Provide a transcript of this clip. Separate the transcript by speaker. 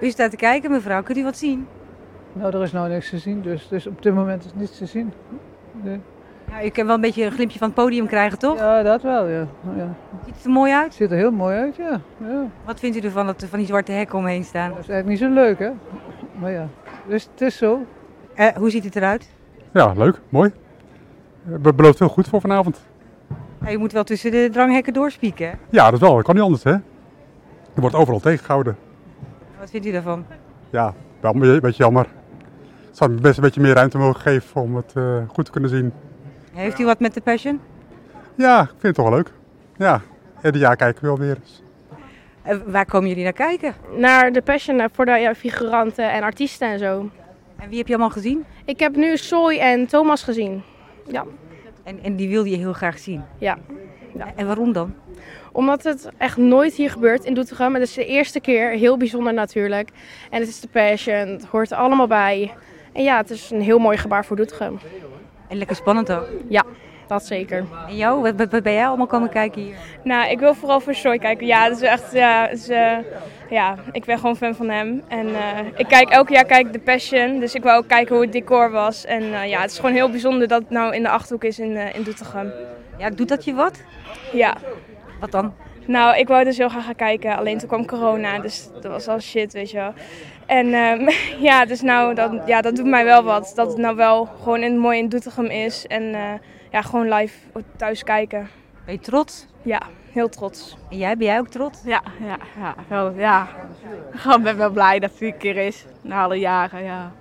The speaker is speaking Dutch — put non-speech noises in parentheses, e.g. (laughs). Speaker 1: U staat te kijken, mevrouw, kunt u wat zien?
Speaker 2: Nou, er is nou niks te zien, dus, dus op dit moment is niets te zien. Nee.
Speaker 1: Nou, u kan wel een beetje een glimpje van het podium krijgen, toch?
Speaker 2: Ja, dat wel, ja. Nou ja.
Speaker 1: Ziet het er mooi uit?
Speaker 2: Het ziet er heel mooi uit, ja. ja.
Speaker 1: Wat vindt u ervan dat er van die zwarte hekken omheen staan?
Speaker 2: Dat is eigenlijk niet zo leuk, hè? Maar ja, dus het is zo.
Speaker 1: Eh, hoe ziet het eruit?
Speaker 3: Ja, leuk, mooi. Het belooft heel goed voor vanavond.
Speaker 1: Ja, je moet wel tussen de dranghekken doorspieken. hè?
Speaker 3: Ja, dat wel, dat kan niet anders hè. Er wordt overal tegengehouden.
Speaker 1: Wat vindt u daarvan?
Speaker 3: Ja, wel een beetje- beetje jammer. Het zou best een beetje meer ruimte mogen geven om het eh, goed te kunnen zien.
Speaker 1: Heeft u wat met de passion?
Speaker 3: Ja, ik vind het toch wel leuk. Ja, ieder jaar kijken we wel weer eens.
Speaker 1: Eh, waar komen jullie naar kijken?
Speaker 4: naar de Passion Lab voor de ja, figuranten en artiesten en zo.
Speaker 1: En wie heb je allemaal gezien?
Speaker 4: Ik heb nu Soy en Thomas gezien. Ja,
Speaker 1: En, en die wilde je heel graag zien. Eh,
Speaker 4: ja.
Speaker 1: En waarom dan?
Speaker 4: Omdat het echt nooit hier gebeurt in Doetinchem. Het is de eerste keer, heel bijzonder natuurlijk. En het is de Passion, het hoort er allemaal bij. En ja, het is een heel mooi gebaar voor Doetinchem.
Speaker 1: En lekker spannend ook.
Speaker 4: Dat zeker.
Speaker 1: En jou, wat, wat, wat ben jij allemaal komen kijken hier?
Speaker 5: Nou, ik wil vooral voor Soy kijken. Ja, dat is echt. Ja, dat is, eh, ja ik ben gewoon fan van hem. En eh, ik kijk elk jaar kijk ik The Passion. Dus ik wil ook kijken hoe het decor was. En eh, ja, het is gewoon heel bijzonder dat het nou in de achterhoek is in, eh, in Doetinchem.
Speaker 1: Ja, doet dat je wat?
Speaker 5: Ja.
Speaker 1: Wat dan?
Speaker 5: Nou, ik wou dus heel graag gaan kijken. Alleen toen kwam corona. Dus dat was al shit, weet je wel. En ehm, (laughs) ja, dus nou, dat, ja, dat doet mij wel wat. Dat het nou wel gewoon in, mooi in Doetinchem is. En eh, ja, gewoon live thuis kijken.
Speaker 1: Ben je trots?
Speaker 5: Ja, heel trots.
Speaker 1: En jij, ben jij ook trots?
Speaker 6: Ja, ja, ja, wel, ja. Gewoon ben wel blij dat het vier keer is. Na alle jaren, ja.